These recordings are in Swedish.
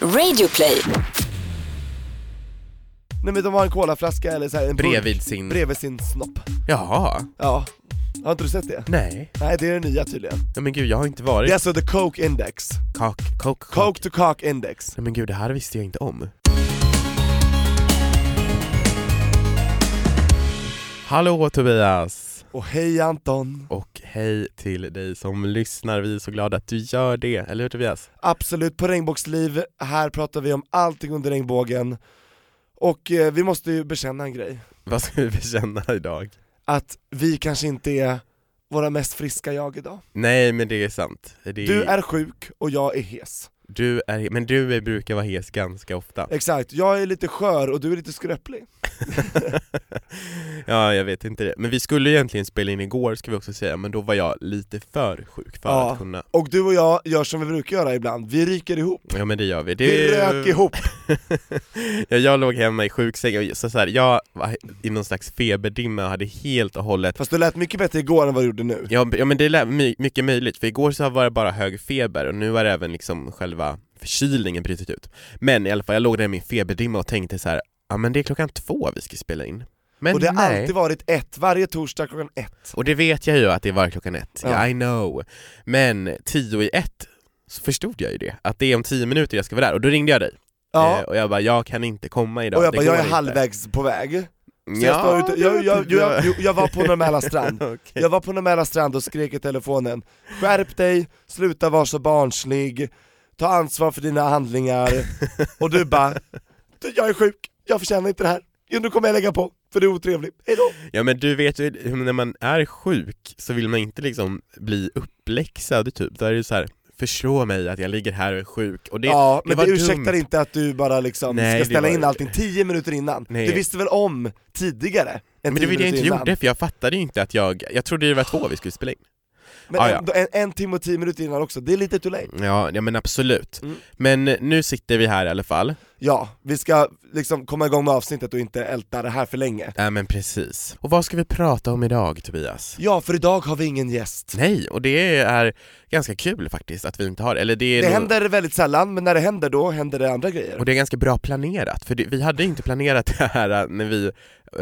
Radioplay. Nej men de har en colaflaska eller så här, en burk Bredvid sin... bredvid sin snopp. Jaha. Ja. Har inte du sett det? Nej. Nej det är det nya tydligen. Nej men gud, jag har inte varit... Det är alltså the coke index. Kak, kok, kok. Coke to cock index. Nej men gud, det här visste jag inte om. Hallå Tobias! Och hej Anton. Och hej till dig som lyssnar, vi är så glada att du gör det, eller hur Tobias? Absolut på regnbågsliv, här pratar vi om allting under regnbågen. Och eh, vi måste ju bekänna en grej. Vad ska vi bekänna idag? Att vi kanske inte är våra mest friska jag idag. Nej men det är sant. Det Du är sjuk och jag är hes. du är... Men du är, brukar vara hes ganska ofta. Exakt, jag är lite skör och du är lite skröplig. ja, jag vet inte det. Men vi skulle egentligen spela in igår ska vi också säga, men då var jag lite för sjuk för Ja. att kunna Och du och jag gör som vi brukar göra ibland, vi ryker ihop. Ja men det gör vi. Det... Vi rök ihop. ja, jag låg hemma i sjuksängen, och så så här, jag var i någon slags feberdimma och hade helt och hållet Fast du lät mycket bättre igår än vad du gjorde nu. Ja, b- ja men det är lä- my- mycket möjligt, för igår så var det bara hög feber och nu har även liksom själva förkylningen brutit ut. Men i alla fall, jag låg där i min feberdimma och tänkte så här, ja men det är klockan två vi ska spela in. Men och det har nej. alltid varit ett, varje torsdag klockan ett. Och det vet jag ju att det var klockan ett, Ja. I know. Men tio i ett så förstod jag ju det, att det är om tio minuter jag ska vara där, och då ringde jag dig. Ja. Eh, och jag bara, jag kan inte komma idag. och jag det bara, jag går är inte." halvvägs på väg. Så jag, står ute, jag, jag, jag, jag, jo, jag var på Norrmäla strand, typ- Okej. jag var på Norrmäla strand och skrek i telefonen Skärp dig, sluta vara så barnslig, ta ansvar för dina handlingar, och du bara "Du, Jag är sjuk, jag förtjänar inte det här, Jo, nu kommer jag lägga på, för du är otrevlig, hejdå! Ja men du vet ju, hur när man är sjuk så vill man inte liksom bli uppläxad typ, då är det ju så här, förstå mig att jag ligger här och är sjuk och det, ja, men det, var ursäktar dumt. inte att du bara liksom Nej, ska det ställa var- in allting 10 minuter innan, Nej. du visste väl om tidigare? än Men 10 det var ju det jag minuter inte innan. gjorde för jag fattade ju inte att jag, jag trodde det var två vi skulle spela in. Men Ah, ja. ändå, en, en timme och 10 minuter innan också, det är lite too late Ja, ja men absolut. Mm. Men nu sitter vi här i alla fall, Ja, vi ska liksom komma igång med avsnittet och inte älta det här för länge ja men precis. Och vad ska vi prata om idag Tobias? Ja, för idag har vi ingen gäst Nej, och det är ganska kul faktiskt att vi inte har eller det. Är Det nog- händer väldigt sällan, men när det händer då händer det andra grejer Och det är ganska bra planerat, för det, vi hade inte planerat det här äh, när vi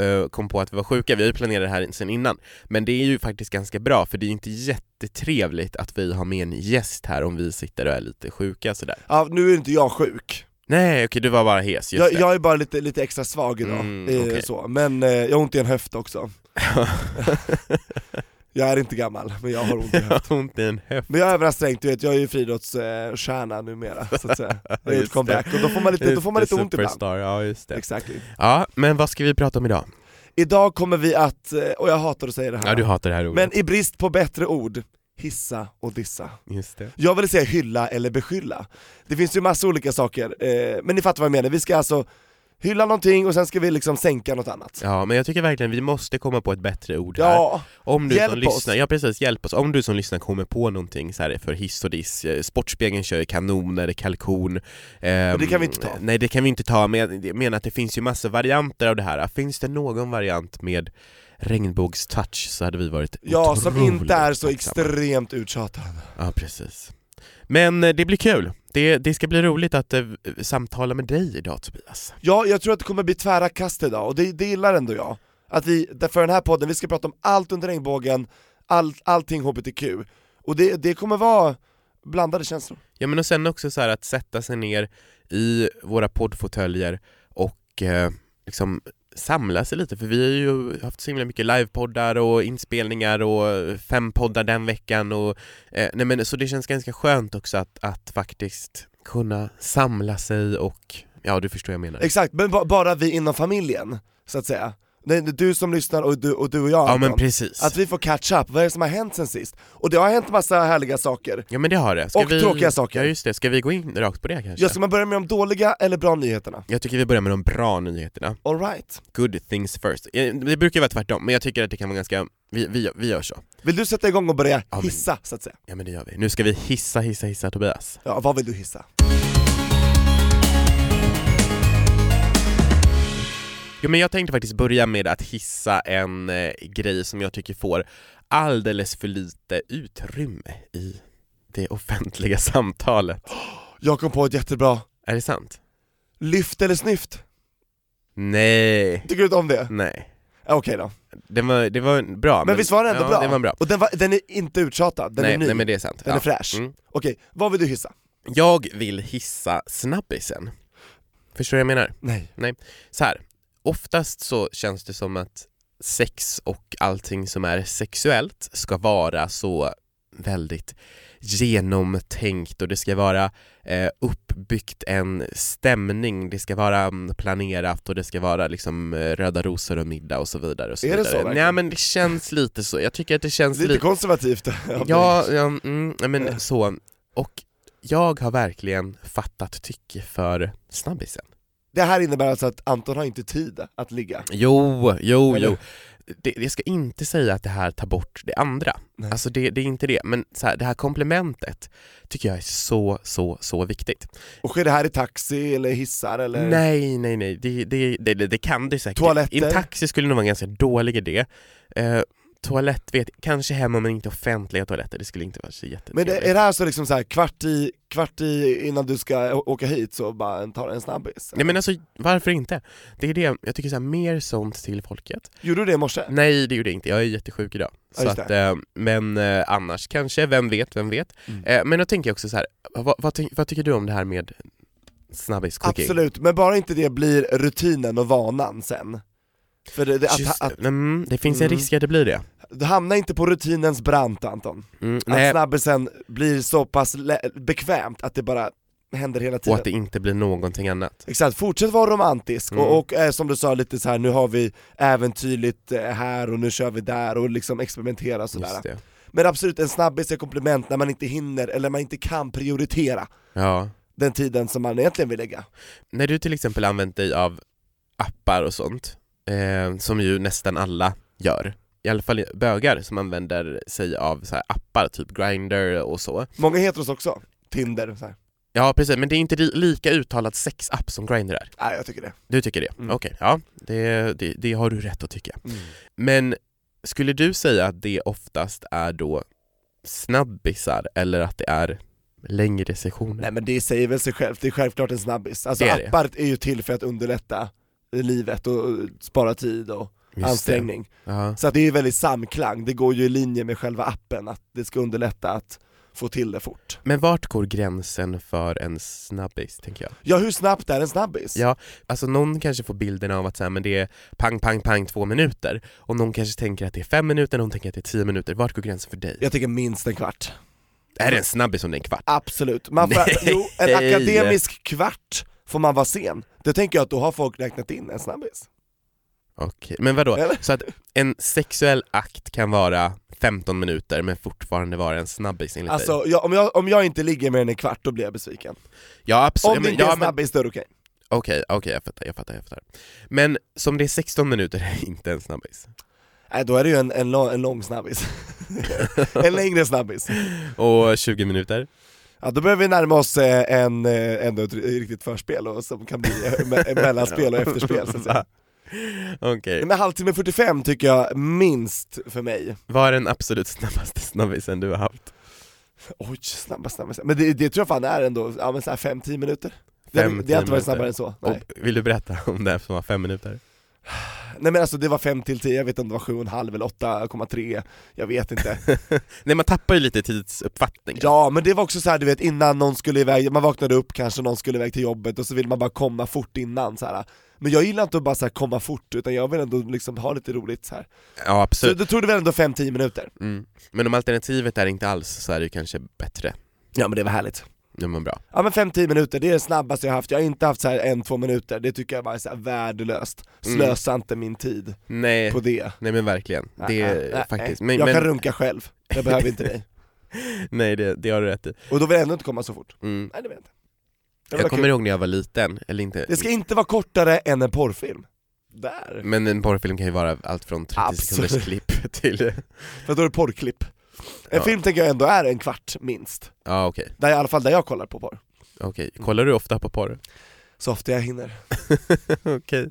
eh, kom på att vi var sjuka, vi har ju planerat det här sen innan. Men det är ju faktiskt ganska bra, för det är ju inte jättetrevligt att vi har med en gäst här om vi sitter och är lite sjuka sådär. Ja, nu är inte jag sjuk, Nej okej, du var bara hes, just jag, det. jag är bara lite, lite extra svag idag, Mm, eh, okej. så. men eh, jag har ont i en höft också Jag är inte gammal, men jag har ont i Jag höften har ont i en höft. Men jag är överansträngt, du vet, jag är ju friidrottsstjärna numera så att säga Det är ett Just comeback, och då får man lite, då får man lite ont ibland Superstar, ja just det. Exactly. Ja, men vad ska vi prata om idag? Idag kommer vi att, eh, och jag hatar att säga det här Ja du hatar det här ordet. Men i brist på bättre ord, hissa och dissa. Just det. Jag vill säga hylla eller beskylla. Det finns ju massa olika saker, eh, men ni fattar vad jag menar. Vi ska alltså hylla någonting och sen ska vi liksom sänka något annat. Ja, men jag tycker verkligen vi måste komma på ett bättre ord här. Ja, Om du Hjälp som oss. lyssnar, ja precis, hjälp oss. Om du som lyssnar kommer på någonting så här för hiss och diss, eh, Sportspegeln kör ju kanoner, kalkon ehm, det kan vi inte ta. Nej det kan vi inte ta, men jag- jag menar att det finns ju massa varianter av det här. Finns det någon variant med regnbågstouch så hade vi varit ja som otroligt inte är så tacksamma. extremt uttjatad. Ja precis. Men eh, det blir kul. Det, det ska bli roligt att eh, samtala med dig idag Tobias. Ja, jag tror att det kommer bli tvära kast idag och det, det gillar ändå jag. Att vi, för den här podden, vi ska prata om allt under regnbågen, all, allting HBTQ. Och det, det kommer vara blandade känslor. Ja men och sen också så här att sätta sig ner i våra poddfåtöljer och eh, liksom samla sig lite för vi har ju haft så himla mycket livepoddar och inspelningar och fem poddar den veckan och eh, nej men så det känns ganska skönt också att, att faktiskt kunna samla sig och ja du förstår vad jag menar. Exakt, men ba- bara vi inom familjen, så att säga. Nej, det är du som lyssnar och du och, du och jag Ja Anton. men precis. Att vi får catch up, vad är det som har hänt sen sist? Och det har hänt massa härliga saker. Ja men det har det. Ska Och vi... tråkiga saker. Ja just det, ska vi gå in rakt på det kanske? Ja, ska man börja med de dåliga eller bra nyheterna? Jag tycker vi börjar med de bra nyheterna. Alright. Good things first. Eh, Det brukar ju vara tvärtom, men jag tycker att det kan vara ganska, vi, vi, vi gör så. Vill du sätta igång och börja men- hissa, så att säga? Ja men det gör vi. Nu ska vi hissa, hissa, hissa Tobias. Ja, vad vill du hissa? Jo men jag tänkte faktiskt börja med att hissa en eh, grej som jag tycker får alldeles för lite utrymme i det offentliga samtalet. Jag kom på ett jättebra, Är det sant? Lyft eller snyft? Nej, Tycker du inte om det? nej. Ja, Okej då. Det var, det var en bra. Men, visst var den ändå ja, bra? Det var bra. Och den, var, den är inte uttjatad, den nej, är ny, nej men det är sant. den ja. är fräsch. Mm. Okej, vad vill du hissa? Jag vill hissa snabbisen. Förstår du vad jag menar? Nej. Så här. oftast så känns det som att sex och allting som är sexuellt ska vara så väldigt genomtänkt och det ska vara eh, uppbyggt en stämning, det ska vara mm, planerat och det ska vara liksom eh, röda rosor och middag och så vidare. Och så Är det vidare. så verkligen? Nej men det känns lite så, jag tycker att det känns Lite Eh. konservativt. Ja, ja mm, nej, men så. Och jag har verkligen fattat tycke för snabbisen. Det här innebär alltså att Anton har inte tid att ligga. Jo, jo, Eller? jo. Det, jag ska inte säga att det här tar bort det andra. Nej. Alltså det, det är inte det, men så här, det här komplementet tycker jag är så, så, så viktigt. Och sker det här i taxi eller hissar eller? Nej, nej, nej, det, det, det, det, det kan det säkert. Toaletter? I en taxi skulle nog vara en ganska dålig idé. Eh, toalett, vet, kanske hemma men inte offentliga toaletter, det skulle inte vara så Men jättetrevligt. det, är det här så liksom så här, kvart i, kvart i innan du ska å- åka hit så bara tar en snabbis? Nej men alltså varför inte? Det är det, jag tycker så här, mer sånt till folket. Gjorde du det i morse? Nej det gjorde jag inte, jag är jättesjuk idag. Ja, Så just att, eh, men eh, annars kanske, vem vet, vem vet. Mm. Eh, men då tänker jag också så här, vad, vad, ty- vad tycker du om det här med snabbis cooking? Absolut, men bara inte det blir rutinen och vanan sen. För det, det, att, Just, att, mm, det finns Mm. en risk att det blir det. du hamnar inte på rutinens brant Anton. Mm, Att nej, snabbisen blir så pass lä- bekvämt att det bara händer hela och tiden. att det inte blir någonting annat. Exakt, fortsätt vara romantisk Mm. och, och eh, som du sa lite så här nu har vi äventyrligt eh, här och nu kör vi där och liksom experimentera och sådär. Just det. Men absolut, en snabbis är komplement när man inte hinner eller man inte kan prioritera Ja. den tiden som man egentligen vill lägga. När du till exempel använt dig av appar och sånt, eh, som ju nästan alla gör, i alla fall bögar som använder sig av så här appar, typ Grindr och så. Många heter oss också, Tinder, så här. Ja precis, men det är inte li- lika uttalat sexapp som Grindr är. Nej jag tycker det. Du tycker det? Mm. Okej, ja. Det, det, det har du rätt att tycka. Mm. Men skulle du säga att det oftast är då snabbisar eller att det är längre sessioner? Nej men det säger väl sig självt, det är självklart en snabbis. Alltså Det är det. appar är ju till för att underlätta livet och och spara tid och Just det. ansträngning. Ja. Så att det är väldigt samklang, det går ju i linje med själva appen att det ska underlätta att få till det fort. Men vart går gränsen för en snabbis, tänker jag? Ja hur snabbt är en snabbis? Ja. Alltså någon kanske får bilden av att så här, men det är pang, pang, pang två minuter och någon kanske tänker att det är fem minuter, någon tänker att det är tio minuter. Vart går gränsen för dig? Jag tycker minst en kvart. Är det en snabbis om det är en kvart? Absolut. Man får, Nej. jo, en akademisk kvart får man vara sen. Det tänker jag att då har folk räknat in en snabbis. Okej, men vadå? Eller? Så att en sexuell akt kan vara 15 minuter men fortfarande vara en snabbis enligt dig? Alltså jag, om, jag, om jag inte ligger mer än en kvart då blir jag besviken. Ja absolut, om det men- inte är ja, en men- snabbis då är det okej. okej, okej jag fattar, jag fattar, jag fattar. Men som det är 16 minuter är det inte en snabbis. Nej då är det ju en, en, lång, en lång snabbis. en längre snabbis. Och 20 minuter? Ja, då behöver vi närma oss eh, en, eh, ändå ett riktigt förspel och, som kan bli eh, me- mellanspel och efterspel så att säga. Va? Okej, Nej, Men halvtimme 45 tycker jag minst för mig. vad är den absolut snabbaste snabbisen du har haft? Oj, snabba, snabba, snabba. Men det, det tror jag fan är ändå, ja men såhär 5-10 minuter. Det, det Fem, har inte tio varit minuter. snabbare än så. Nej. Och vill du berätta om det här som var 5 minuter? Nej men alltså det var 5 till 10, jag vet inte om det var 7,5 eller 8,3, jag vet inte. Nej man tappar ju lite tidsuppfattning. Ja men det var också så här, du vet innan någon skulle iväg, man vaknade upp kanske någon skulle iväg till jobbet och så vill man bara komma fort innan så här. Men jag gillar inte att bara så här komma fort utan jag vill ändå liksom ha lite roligt så här. ja Så absolut. det tog det väl ändå 5-10 minuter? Mm. Men om alternativet är inte alls så är det ju kanske bättre. Ja men det var härligt. Ja men bra. Ja men 5-10 minuter, det är det snabbaste jag har haft, jag har inte haft så här en, två minuter, det tycker jag bara är så här värdelöst. Slösa inte min tid Nej. på det. Nej men verkligen, det Nej, Eh, är nej, faktiskt, nej. men, jag men kan runka själv, jag behöver inte dig. nej det, det har du rätt i. Och då vill jag ändå inte komma så fort. Mm. Nej det vet jag inte. Det, var Jag kommer kul. ihåg när jag var liten, eller inte, det ska inte vara kortare än en porrfilm. Där. men en porrfilm kan ju vara allt från 30 Absolut. sekunders klipp till, För då är det porrklipp. En Ja. film tänker jag ändå är en kvart minst. ja okej, Där, I alla fall där jag kollar på porr. okej, kollar du ofta på porr? Så ofta jag hinner. okej,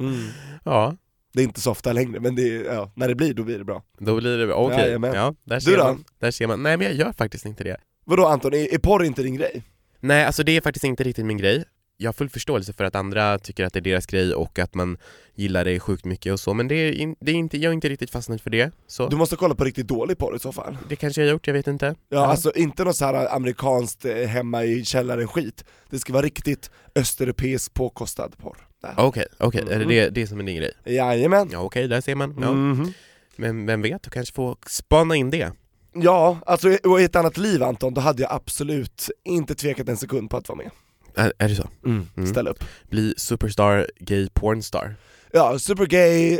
ja, Det är inte så ofta längre men det är, ja, när det blir då blir det bra. då blir det, okej, Jajamän. ja, där Du ser, då? man, där ser man, nej men jag gör faktiskt inte det. Vadå Anton, är, är porr inte din grej? Nej alltså det är faktiskt inte riktigt min grej, jag har full förståelse för att andra tycker att det är deras grej och att man gillar det sjukt mycket och så, men det är in, det är inte, jag är inte riktigt fastnat för det. Så Du måste kolla på riktigt dålig porr i så fall. det kanske jag har gjort, jag vet inte. Ja, alltså inte något så här amerikanskt eh, hemma i källaren skit. Det ska vara riktigt östeuropeisk påkostad porr. Där. Okej, okej, är det Mm. det, det är som är din grej? Jajamän. Ja okej, där ser man. Ja. Mhm. Men vem vet, du kanske får spana in det. Ja, alltså i- och i ett annat liv Anton, då hade jag absolut inte tvekat en sekund på att vara med. Är, är det så? Mm. Ställ upp. Bli superstar, gay pornstar. Ja, supergay, eh,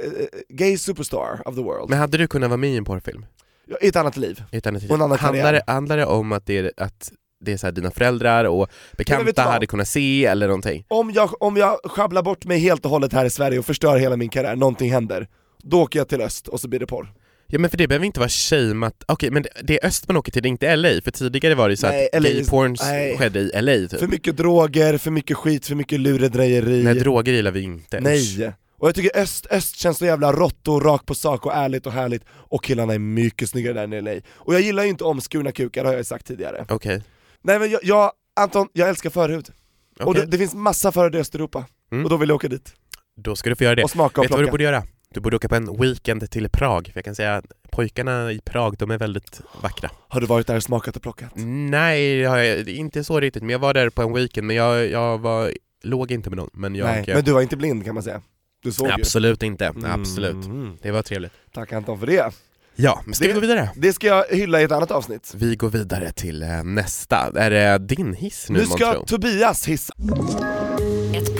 gay superstar of the world. Men hade du kunnat vara med i en porrfilm? Ja, I ett annat liv. I ett annat liv? Och en annan handlar, karriär. det, handlar det om att det är, att det är så här dina föräldrar och Men vet du bekanta vad? hade kunnat se eller någonting? Om jag, om jag sjabblar bort mig helt och hållet här i Sverige och förstör hela min karriär, någonting händer. Då åker jag till öst och så blir det porr. Ja men för det behöver inte vara shameat, okej men det, det är öst man åker till, det är inte LA, för tidigare var det ju så Nej, LA att gay is- porns nej. skedde i LA typ. För mycket droger, för mycket skit, för mycket lurendrejeri. Nej droger gillar vi ju inte, usch. Nej! Och jag tycker öst, öst känns så jävla rått och rakt på sak och ärligt och härligt och killarna är mycket snyggare där nere i LA. Och jag gillar ju inte omskurna kukar har jag ju sagt tidigare. Okej, Nej men jag, jag Anton, jag älskar förhud. Och Okej. det, det finns massa förhud i Östeuropa. Mm. Och då vill jag åka dit då ska du få göra det. och smaka och Vet du vad du plocka. borde göra? Du borde åka på en weekend till Prag, för jag kan säga att pojkarna i Prag, de är väldigt vackra. Har du varit där och smakat och plockat? Nej, det har jag- det är inte så riktigt, men jag var där på en weekend, men jag, jag var, låg inte med någon. Men jag, Nej, jag men du var inte blind kan man säga. Du såg absolut inte, ju. absolut. Mm. Det var trevligt. Tack Anton för det. Ja, men ska Det- vi gå vidare? Det ska jag hylla i ett annat avsnitt. Vi går vidare till eh, nästa. Är det din hiss nu, Nu ska Månstro? Tobias hissa. Ett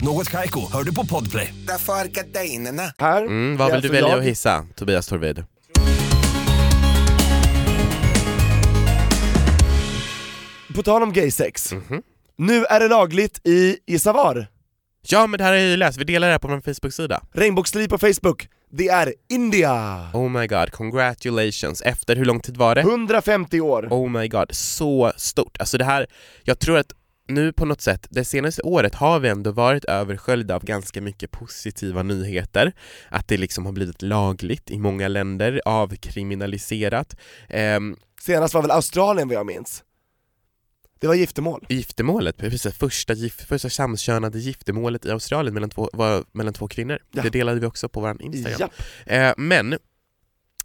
Något Kaiko, hör du på Podplay. Därför är gardinerna. Här Mm, vad Det är vill du alltså välja jag. att hissa, Tobias Torvid? På tal om gaysex, nu är det lagligt i Gissa var. Ja, men det här har jag ju läst, vi delar det här på vår Facebook-sida. Regnbågsliv på Facebook, det är India! Oh my god, congratulations. Efter hur lång tid var det? 150 år. Oh my god, så stort. Alltså det här, jag tror att nu på något sätt, det senaste året har vi ändå varit översköljda av ganska mycket positiva nyheter. Att det liksom har blivit lagligt i många länder, avkriminaliserat. Ehm, Senast var väl Australien vad jag minns? Det var giftermål. giftermålet, precis, första, gif, första samkönade giftermålet i Australien mellan två, var, mellan två kvinnor. Ja. Det delade vi också på vår Instagram. Japp. Eh, men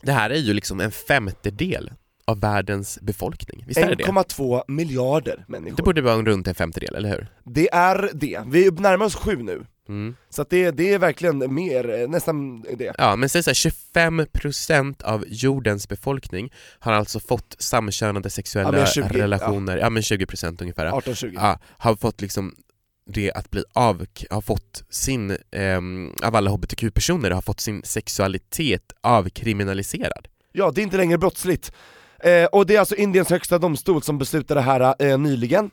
det här är ju liksom en femtedel av världens befolkning. Visst är det det? 1,2 miljarder Det människor. borde vara runt en femtedel, eller hur? Det är det. Vi närmar oss sju nu. Mm. Så att det, det är verkligen mer, eh, nästan det. Ja, men säg såhär, 25% av jordens befolkning har alltså fått samkönade Ja, sexuella men 20, relationer, ja. men 20% ungefär, ja. 18-20. Ja, har fått liksom det att bli av, har fått sin, ehm, av alla hbtq-personer, har fått sin sexualitet avkriminaliserad. Ja, det är inte längre brottsligt. Eh, och det är alltså Indiens högsta domstol som beslutade det här eh, nyligen.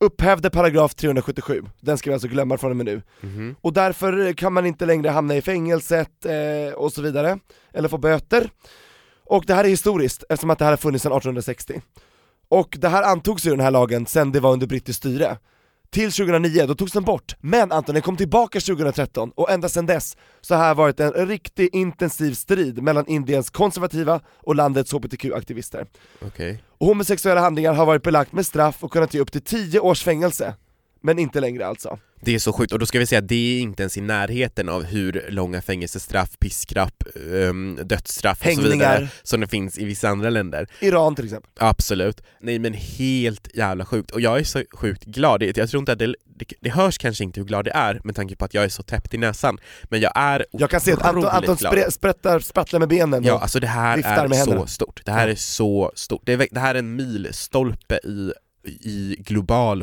Upphävde paragraf 377, den ska vi alltså glömma från och med nu. Mhm. Och därför kan man inte längre hamna i fängelset eh, och så vidare, eller få böter. Och det här är historiskt eftersom att det här har funnits sedan 1860. Och det här antogs ju den här lagen sen det var under brittiskt styre. Till 2009, då togs den bort. Men Anton, den kom tillbaka 2013 och ända sedan dess så har det varit en riktig intensiv strid mellan Indiens konservativa och landets hbtq-aktivister. Okej. Och homosexuella handlingar har varit belagt med straff och kunnat ge upp till 10 års fängelse. Men inte längre alltså. Det är så sjukt, och då ska vi säga att det är inte ens i närheten av hur långa fängelsestraff, piskrapp, ehm, dödsstraff och så Hängningar. vidare som det finns i vissa andra länder. Iran till exempel. Absolut. Nej men helt jävla sjukt. Och jag är så sjukt glad. Det- Jag tror inte att det, det, det hörs kanske inte hur glad jag är med tanke på att jag är så täppt i näsan. Men jag är Jag kan se att Anton, otroligt Anton glad. spre, sprättar, sprattlar med benen Ja, och alltså det här viftar är med händerna. så stort. Det här Ja. är så stort. Det, är, det här är en milstolpe i, i global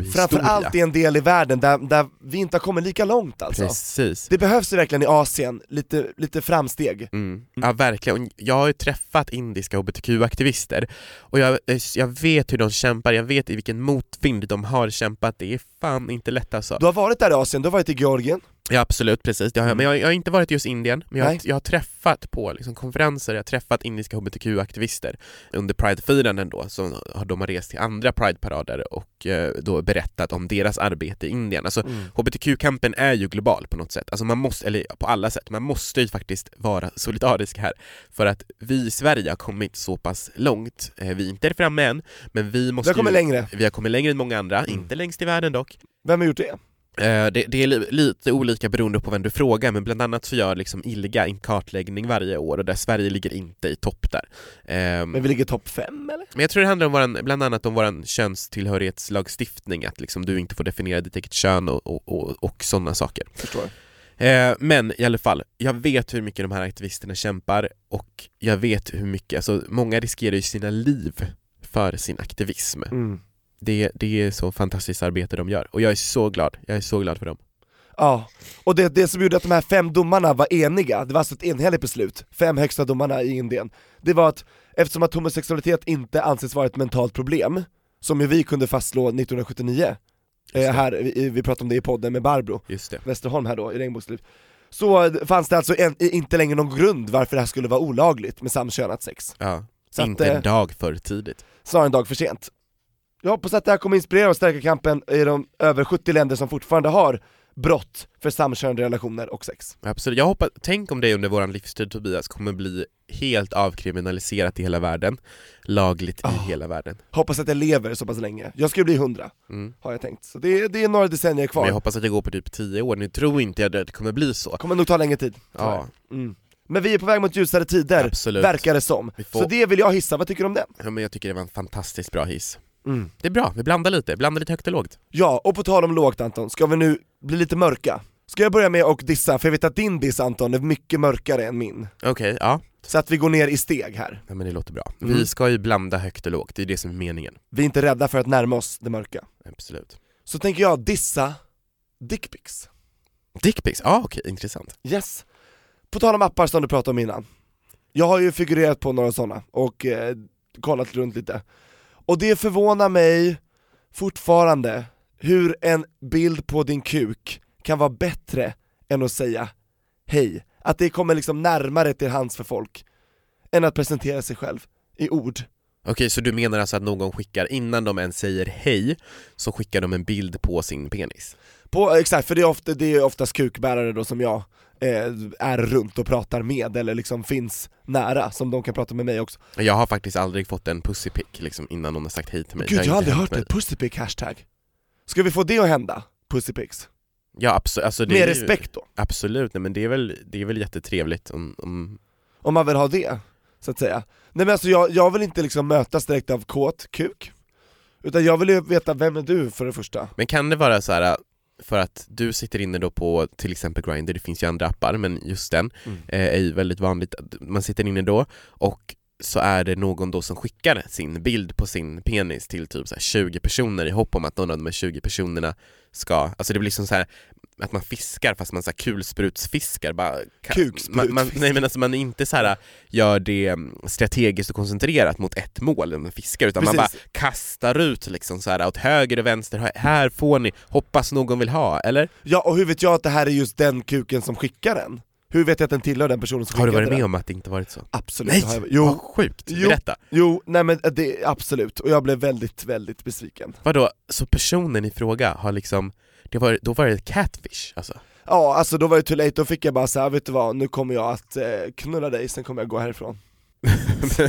hbtq-historia. framförallt i en del i världen där, där vi inte har kommit lika långt alltså. Precis. Det behövs ju verkligen i Asien, lite, lite framsteg. Mm. Ja verkligen, Och jag har ju träffat indiska hbtq-aktivister och jag, eh, jag vet hur de kämpar, jag vet i vilken motvind de har kämpat, det är fan inte lätt alltså. Du har varit där i Asien, du har varit i Georgien, Ja absolut, precis. Det har jag, men jag, jag har inte varit just i Indien, men jag, har- Nej. jag har träffat på liksom, konferenser, jag har träffat indiska hbtq-aktivister under Pride-firanden då, som har, de har rest till andra Pride-parader och eh, då berättat om deras arbete i Indien. Alltså hbtq-kampen är ju global på något sätt, alltså man måste, eller på alla sätt, man måste ju faktiskt vara solidarisk här för att vi i Sverige har kommit så pass långt, eh, vi är inte framme än, men vi måste Jag kommer ju, längre. vi har kommit längre Mm. än många andra, inte längst i världen dock, Vem har gjort det? Eh, Det, det är li- lite olika beroende på vem du frågar, men bland annat så gör liksom ILGA en kartläggning varje år och där Sverige ligger inte i topp där. Ehm, Men vi ligger topp fem eller? Men jag tror det handlar om våran, bland annat om vår könstillhörighetslagstiftning, att liksom du inte får definiera ditt eget kön och, och, och, och sådana saker. Förstår. Eh, men i alla fall, jag vet hur mycket de här aktivisterna kämpar och jag vet hur mycket, alltså många riskerar ju sina liv för sin aktivism. Mm. Det, det är så fantastiskt arbete de gör och jag är så glad, jag är så glad för dem. Ja, och det, det som gjorde att de här fem domarna var eniga, det var alltså ett enhälligt beslut, fem högsta domarna i Indien, det var att eftersom att homosexualitet inte anses vara ett mentalt problem, som ju vi kunde fastslå 1979, Just eh, det. här, vi, vi pratade om det i podden med Barbro Just det. Westerholm här då, i Regnbågsliv, så eh, fanns det alltså en, inte längre någon grund varför det här skulle vara olagligt med samkönat sex. Ja. Så inte att, eh, en dag för tidigt. snarare en dag för sent. Jag hoppas att det här kommer inspirera och stärka kampen i de över 70 länder som fortfarande har brott för samkönade relationer och sex. Absolut. Jag hoppas, tänk om det under vår livstid Tobias kommer bli helt avkriminaliserat i hela världen, lagligt Ah, i hela världen. Hoppas att jag lever så pass länge. Jag ska ju bli 100, Mm. har jag tänkt. Så det, är- det är några decennier kvar. Men jag hoppas att det går på typ 10 år, nu tror inte jag att det kommer bli så. kommer nog ta längre tid. tror Ja, jag. Mm. Men vi är på väg mot ljusare tider, Absolut. verkar det som. Vi får- Så det vill jag hissa, vad tycker du om den? ja, men jag tycker det var en fantastiskt bra hiss. Mm. Det är bra, vi blandar lite, blandar lite högt och lågt. Ja, och på tal om lågt Anton, ska vi nu bli lite mörka? Ska jag börja med att dissa, för jag vet att din diss Anton är mycket mörkare än min. Okej, ja. Så att vi går ner i steg här. ja men det låter bra. Mm. Vi ska ju blanda högt och lågt, det är det som är meningen. Vi är inte rädda för att närma oss det mörka. Absolut. Så tänker jag dissa dickpics. Dickpics, ja okej, intressant. Yes. På tal om appar som du pratade om innan. Jag har ju figurerat på några sådana och eh, kollat runt lite. Och det förvånar mig fortfarande hur en bild på din kuk kan vara bättre än att säga hej. Att det kommer liksom närmare till hands för folk än att presentera sig själv i ord. Okej, så du menar alltså att någon skickar, innan de ens säger hej, så skickar de en bild på sin penis? På, exakt, för det är, ofta, det är oftast kukbärare då som jag eh, är runt och pratar med eller liksom finns nära som de kan prata med mig också. Jag har faktiskt aldrig fått en pussypick liksom innan någon har sagt hej till mig. Gud jag har inte aldrig hänt hört det, mig. pussypick hashtag. Ska vi få det att hända? Pussypicks. Ja absolut, alltså det Med är ju- respekt då, Absolut, nej, men det är väl, det är väl jättetrevligt om, om... om man vill ha det, så att säga. Nej men alltså jag, jag vill inte liksom mötas direkt av kåt kuk, utan jag vill ju veta vem är du för det första. Men kan det vara så här äh, för att du sitter inne då på till exempel Grindr, det finns ju andra appar men just den Mm. eh, är ju väldigt vanligt, att man sitter inne då och så är det någon då som skickar sin bild på sin penis till typ så här 20 personer i hopp om att någon av de här 20 personerna ska, alltså det blir som så här att man fiskar fast man så här kulsprutsfiskar bara kan- Kuksprutsfiskar. man, man, Nej men alltså man är inte så här gör det mm, strategiskt och koncentrerat mot ett mål när man fiskar utan man Precis. bara kastar ut liksom så här åt höger och vänster, "Här- här får ni, hoppas någon vill ha, eller? Ja och hur vet jag att det här är just den kuken som skickar den? Hur vet jag att den tillhör den personen som Har du skickade varit med den? om att det inte varit så? Absolut, Nej! har jag- Vad jo, sjukt! Jo. Berätta! jo, nej men eh, det, absolut, och jag blev väldigt, väldigt besviken. Vadå, så personen i fråga har liksom, det var, då var det catfish alltså? Ja, alltså då var det too late, då fick jag bara säga vet du vad, nu kommer jag att eh, knulla dig, sen kommer jag gå härifrån.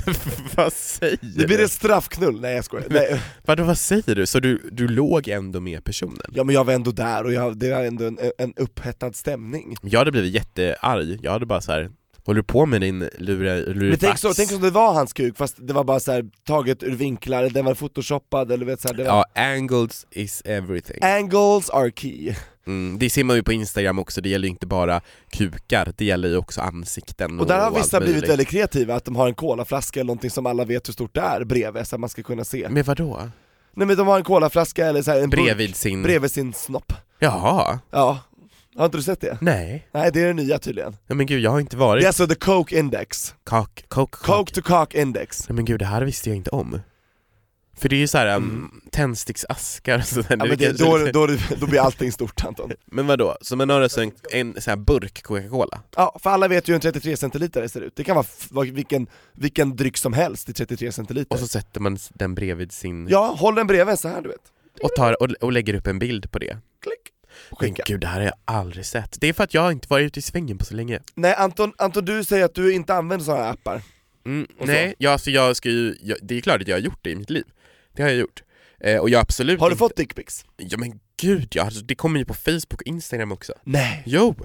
vad säger Det blir du? en straffknull, nej jag skojar. Nej. Vadå, vad säger du? Så du, du låg ändå med personen? Ja men jag var ändå där och jag, det var ändå en, en upphettad stämning. Jag hade blivit jättearg, jag hade bara så här. håller du på med din lura, Men tänk, lurifax? så, tänk om det var hans kuk fast det var bara så här, taget ur vinklar, den var photoshoppad eller vet så här, det var... Ja, angles is everything. Angles are key. Mm, det ser man ju på Instagram också, det gäller ju inte bara kukar, det gäller ju också ansikten Och där har allt vissa blivit möjligt. väldigt kreativa, att de har en colaflaska eller någonting som alla vet hur stort det är bredvid så att man ska kunna se. Men vadå? Nej men de har en colaflaska eller så här, en burk Bredvid sin... bredvid sin snopp. Jaha, Ja, har inte du sett det? nej. Nej det är det nya tydligen. Ja, men gud, jag har inte varit... Det är alltså the coke index, Kak, kok, kok. coke to coke index. Nej, men gud, det här visste jag inte om. För det är ju såhär mm. tändsticksaskar och sådär. Ja, men det, då, då, då blir allting stort Anton. men vadå, så man har alltså en, en sån här burk Coca-Cola? Ja, för alla vet ju hur en 33 centiliter ser ut. Det kan vara f- vad- vilken, vilken dryck som helst i 33 centiliter. Och så sätter man den bredvid sin Ja, håll den bredvid så här du vet. och, tar, och, och lägger upp en bild på det. Klick. Och Men Skicka. gud, det här har jag aldrig sett. Det är för att jag inte varit ute i svängen på så länge. Nej Anton, Anton, du säger att du inte använder sådana här appar. Mm, så? nej, ja, alltså jag ska ju, jag, det är klart att jag har gjort det i mitt liv. Det har jag gjort. Eh, och jag absolut Har du inte- fått dickpics? Ja men gud ja, alltså, det kommer ju på Facebook och Instagram också. Nej. Jo!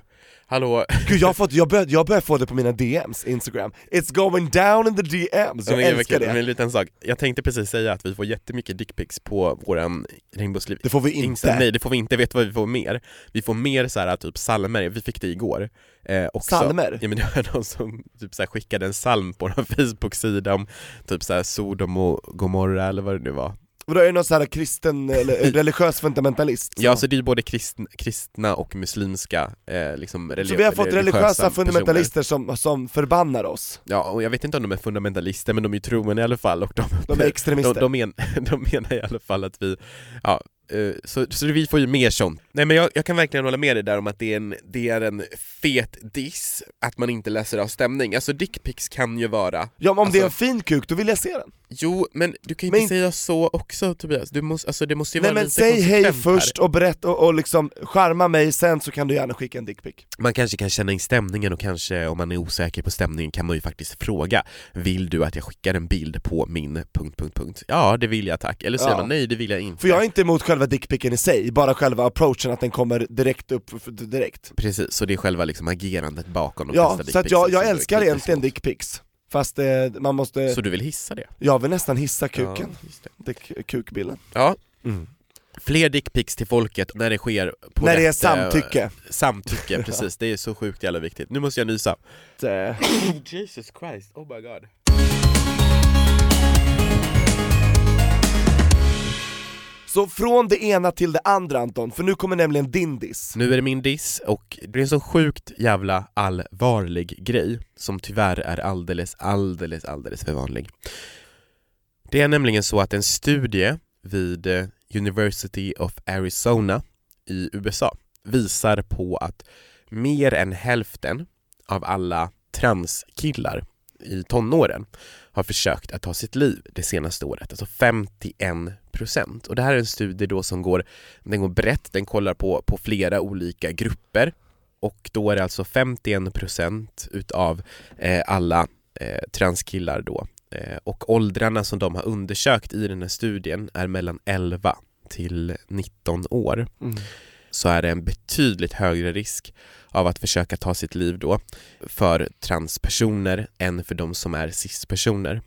Hallå! Gud jag har fått, jag börjar jag börjar få det på mina DMs, Instagram. It's going down in the DMs, jag Men gud, vad älskar kul. Men det. en liten sak. Jag tänkte precis säga att vi får jättemycket dickpics på våran regnbågsliv. Det får vi Insta- inte. Nej det får vi inte, vet du vad vi får mer? Vi får mer så här typ salmer. vi fick det igår eh, också. Salmer? Ja men det var någon som typ så här, skickade en salm på vår Facebook-sida om typ så här Sodom och Gomorra eller vad det nu var. Och då är det någon sån här kristen, eller religiös fundamentalist? Ja så det är ju både kristna, kristna och muslimska eh, liksom Så vi har fått eller religiösa personer. fundamentalister som, som förbannar oss. Ja, och jag vet inte om de är fundamentalister, men de är ju troende i alla fall och de, De är extremister. De, de, men, de menar i alla fall att vi, ja, eh, så, så vi får ju mer sånt. Nej men jag, jag kan verkligen hålla med dig där om att det är en, det är en fet diss att man inte läser av stämning. Alltså dickpics kan ju vara, Ja men om det är en Alltså- fin kuk, då vill jag se den. jo men du kan ju Men- inte säga så också Tobias, du måste, alltså, det måste ju Nej vara men lite säg hej konsekvent här. först och berätta och, och liksom charma mig, sen så kan du gärna skicka en dickpic. Man kanske kan känna in stämningen och kanske om man är osäker på stämningen kan man ju faktiskt fråga Vill du att jag skickar en bild på min... punkt, punkt, punkt? Ja, det vill jag tack. Eller säger Ja. man nej, det vill jag inte. För jag är inte emot själva dickpicken i sig, bara själva approachen att den kommer direkt upp, f- direkt. Precis, så det är själva liksom agerandet bakom de liksom, Ja, flesta så att dickpicsen jag, jag som du är älskar kritisk egentligen mot. dickpics. Fast eh, man måste, Så du vill hissa det? jag vill nästan hissa kuken, Ja, just det. dick, kukbilden. ja. Mm. Fler dickpics till folket när det sker på När rätt, det är eh, samtycke. samtycke, precis. Det är så sjukt jävla viktigt. Nu måste jag nysa. Eh, Jesus Christ, oh my god. Så från det ena till det andra Anton, för nu kommer nämligen din diss. Nu är det min diss och det är en så sjukt jävla allvarlig grej som tyvärr är alldeles, alldeles, alldeles för vanlig. Det är nämligen så att en studie vid eh, University of Arizona i USA visar på att mer än hälften av alla transkillar i tonåren har försökt att ta sitt liv det senaste året, alltså 51 procent. Och det här är en studie då som går den går brett, den kollar på, på flera olika grupper och då är det alltså 51% utav eh, alla eh, transkillar då eh, och åldrarna som de har undersökt i den här studien är mellan 11 till 19 år så är det en betydligt högre risk av att försöka ta sitt liv då för transpersoner än för de som är cispersoner.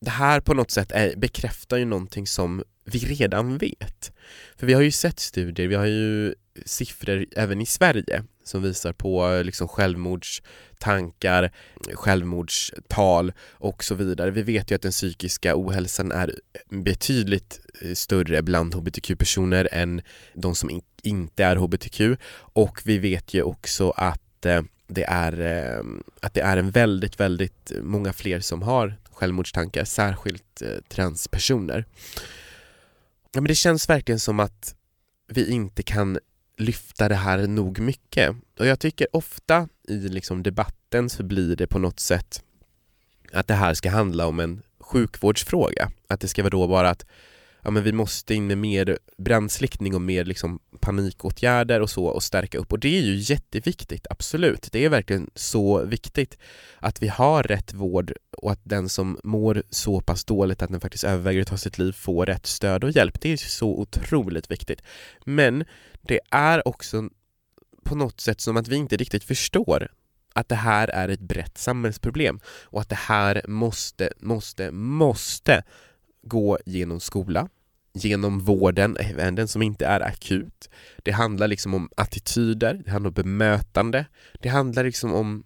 Det här på något sätt är, bekräftar ju någonting som vi redan vet. För vi har ju sett studier, vi har ju siffror även i Sverige som visar på eh, liksom självmordstankar, självmordstal och så vidare. Vi vet ju att den psykiska ohälsan är betydligt eh, större bland hbtq-personer än de som in- inte är hbtq och vi vet ju också att eh, det är, eh, att det är en väldigt, väldigt många fler som har självmordstankar, särskilt eh, transpersoner. Ja, men det känns verkligen som att vi inte kan lyfta det här nog mycket. Och jag tycker ofta i liksom debatten så blir det på något sätt att det här ska handla om en sjukvårdsfråga. Att det ska vara då bara att ja, men vi måste in med mer brandsläckning och mer liksom panikåtgärder och så och stärka upp. Och det är ju jätteviktigt, absolut. Det är verkligen så viktigt att vi har rätt vård och att den som mår så pass dåligt att den faktiskt överväger att ta sitt liv får rätt stöd och hjälp. Det är ju så otroligt viktigt. Men det är också på något sätt som att vi inte riktigt förstår att det här är ett brett samhällsproblem och att det här måste, måste, måste gå genom skola, genom vården, även den som inte är akut. Det handlar liksom om attityder, det handlar om bemötande, det handlar liksom om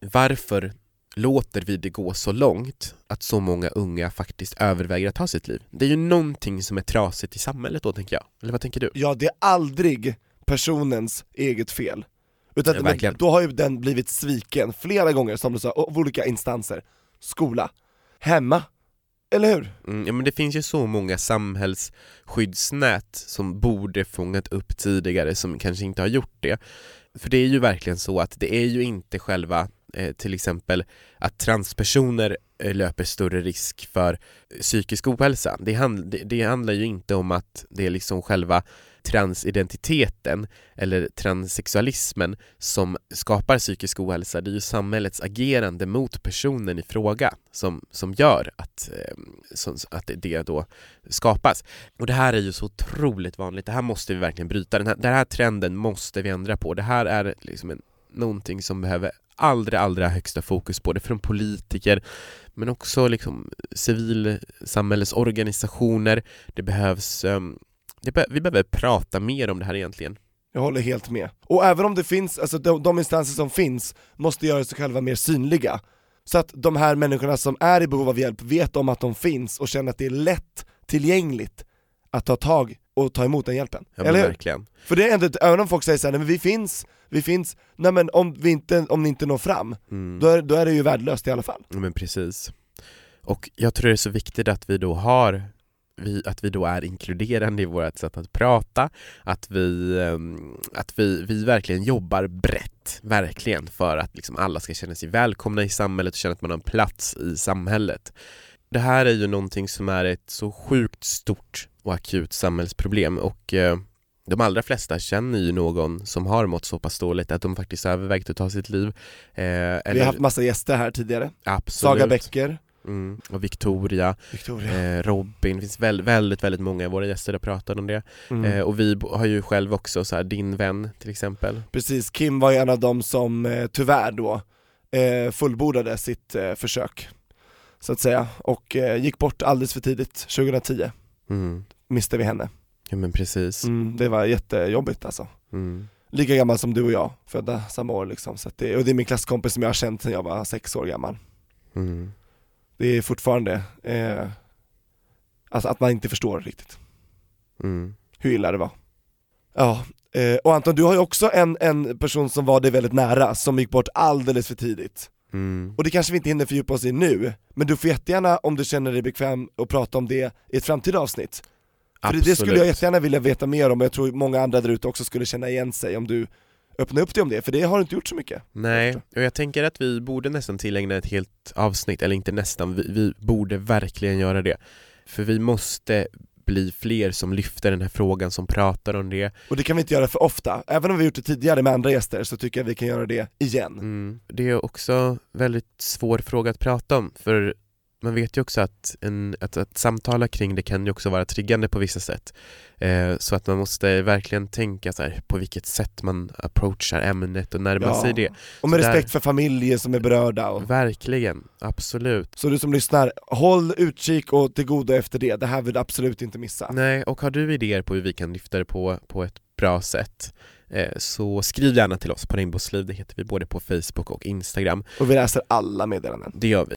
varför låter vi det gå så långt att så många unga faktiskt överväger att ta sitt liv? Det är ju någonting som är trasigt i samhället då tänker jag, eller vad tänker du? Ja, det är aldrig personens eget fel. Utan Ja, men verkligen. då har ju den blivit sviken flera gånger som du sa, av olika instanser. Skola, hemma, eller hur? Mm, ja, men det finns ju så många samhällsskyddsnät som borde fångat upp tidigare som kanske inte har gjort det. För det är ju verkligen så att det är ju inte själva eh, till exempel att transpersoner eh, löper större risk för eh, psykisk ohälsa. Det, hand, det, det handlar ju inte om att det är liksom själva transidentiteten eller transsexualismen som skapar psykisk ohälsa. Det är ju samhällets agerande mot personen i fråga som, som gör att, eh, som, att det- det då skapas. Och det här är ju så otroligt vanligt, det här måste vi verkligen bryta, den här, den här trenden måste vi ändra på. Det här är liksom en, någonting som behöver allra, allra högsta fokus på det från politiker men också liksom civilsamhällesorganisationer. Det behövs, ehm, det be- vi behöver prata mer om det här egentligen. Jag håller helt med. Och även om det finns, alltså de, de instanser som finns måste göra sig själva mer synliga. Så att de här människorna som är i behov av hjälp vet om att de finns och känner att det är lätt tillgängligt att ta tag och ta emot den hjälpen. Ja, men Eller hur? verkligen. För det är ändå, ett- även om folk säger såhär, nej men vi finns, vi finns, nej men om, vi inte, om ni inte når fram, Mm. då är, då är det ju värdelöst i alla fall. Ja, men precis. Och jag tror det är så viktigt att vi då har vi, att vi då är inkluderande i vårt sätt att prata, att vi, ehm, att vi, vi verkligen jobbar brett, verkligen, för att liksom alla ska känna sig välkomna i samhället och känna att man har en plats i samhället. Det här är ju någonting som är ett så sjukt stort och akut samhällsproblem och eh, de allra flesta känner ju någon som har mått så pass dåligt att de faktiskt har övervägt att ta sitt liv. Eh, eller, Vi har haft massa gäster här tidigare, absolut. Saga Bäcker, Mm. Och Victoria, Victoria. eh, Robin, det finns väl, väldigt, väldigt många av våra gäster har pratat om det. Mm. Eh, och vi bo- har ju själv också så här, din vän till exempel. Precis, Kim var ju en av dem som eh, tyvärr då eh, fullbordade sitt eh, försök, så att säga, och eh, gick bort alldeles för tidigt, 2010 Mm. miste vi henne. Ja men precis. Mm, det var jättejobbigt alltså. Mm. Lika gammal som du och jag, födda samma år liksom, så att det, och det är min klasskompis som jag har känt sedan jag var sex år gammal. Mm. Det är fortfarande, eh, alltså att man inte förstår riktigt Mm. hur illa det var. Ja, eh, och Anton du har ju också en, en person som var dig väldigt nära, som gick bort alldeles för tidigt. Mm. Och det kanske vi inte hinner fördjupa oss i nu, men du får jättegärna om du känner dig bekväm att prata om det i ett framtida avsnitt. För det- det skulle jag jättegärna vilja veta mer om och jag tror många andra där ute också skulle känna igen sig om du öppnar upp dig om det, för det har du inte gjort så mycket. Nej, och jag tänker att vi borde nästan tillägna ett helt avsnitt, eller inte nästan, vi, vi borde verkligen göra det. För vi måste bli fler som lyfter den här frågan, som pratar om det. Och det kan vi inte göra för ofta, även om vi gjort det tidigare med andra gäster så tycker jag vi kan göra det igen. Mm. Det är också väldigt svår fråga att prata om för man vet ju också att, en, att, att samtala kring det kan ju också vara triggande på vissa sätt. Eh, så att man måste verkligen tänka så här, på vilket sätt man approachar ämnet och närmar Ja. sig det. Och med Så där- respekt för familjer som är berörda och Verkligen, absolut. så du som lyssnar, håll utkik och till godo efter det, det här vill du absolut inte missa. Nej, och har du idéer på hur vi kan lyfta det på, på ett bra sätt eh, så skriv gärna till oss på Regnbågsliv, det heter vi både på Facebook och Instagram. Och vi läser alla meddelanden. Det gör vi.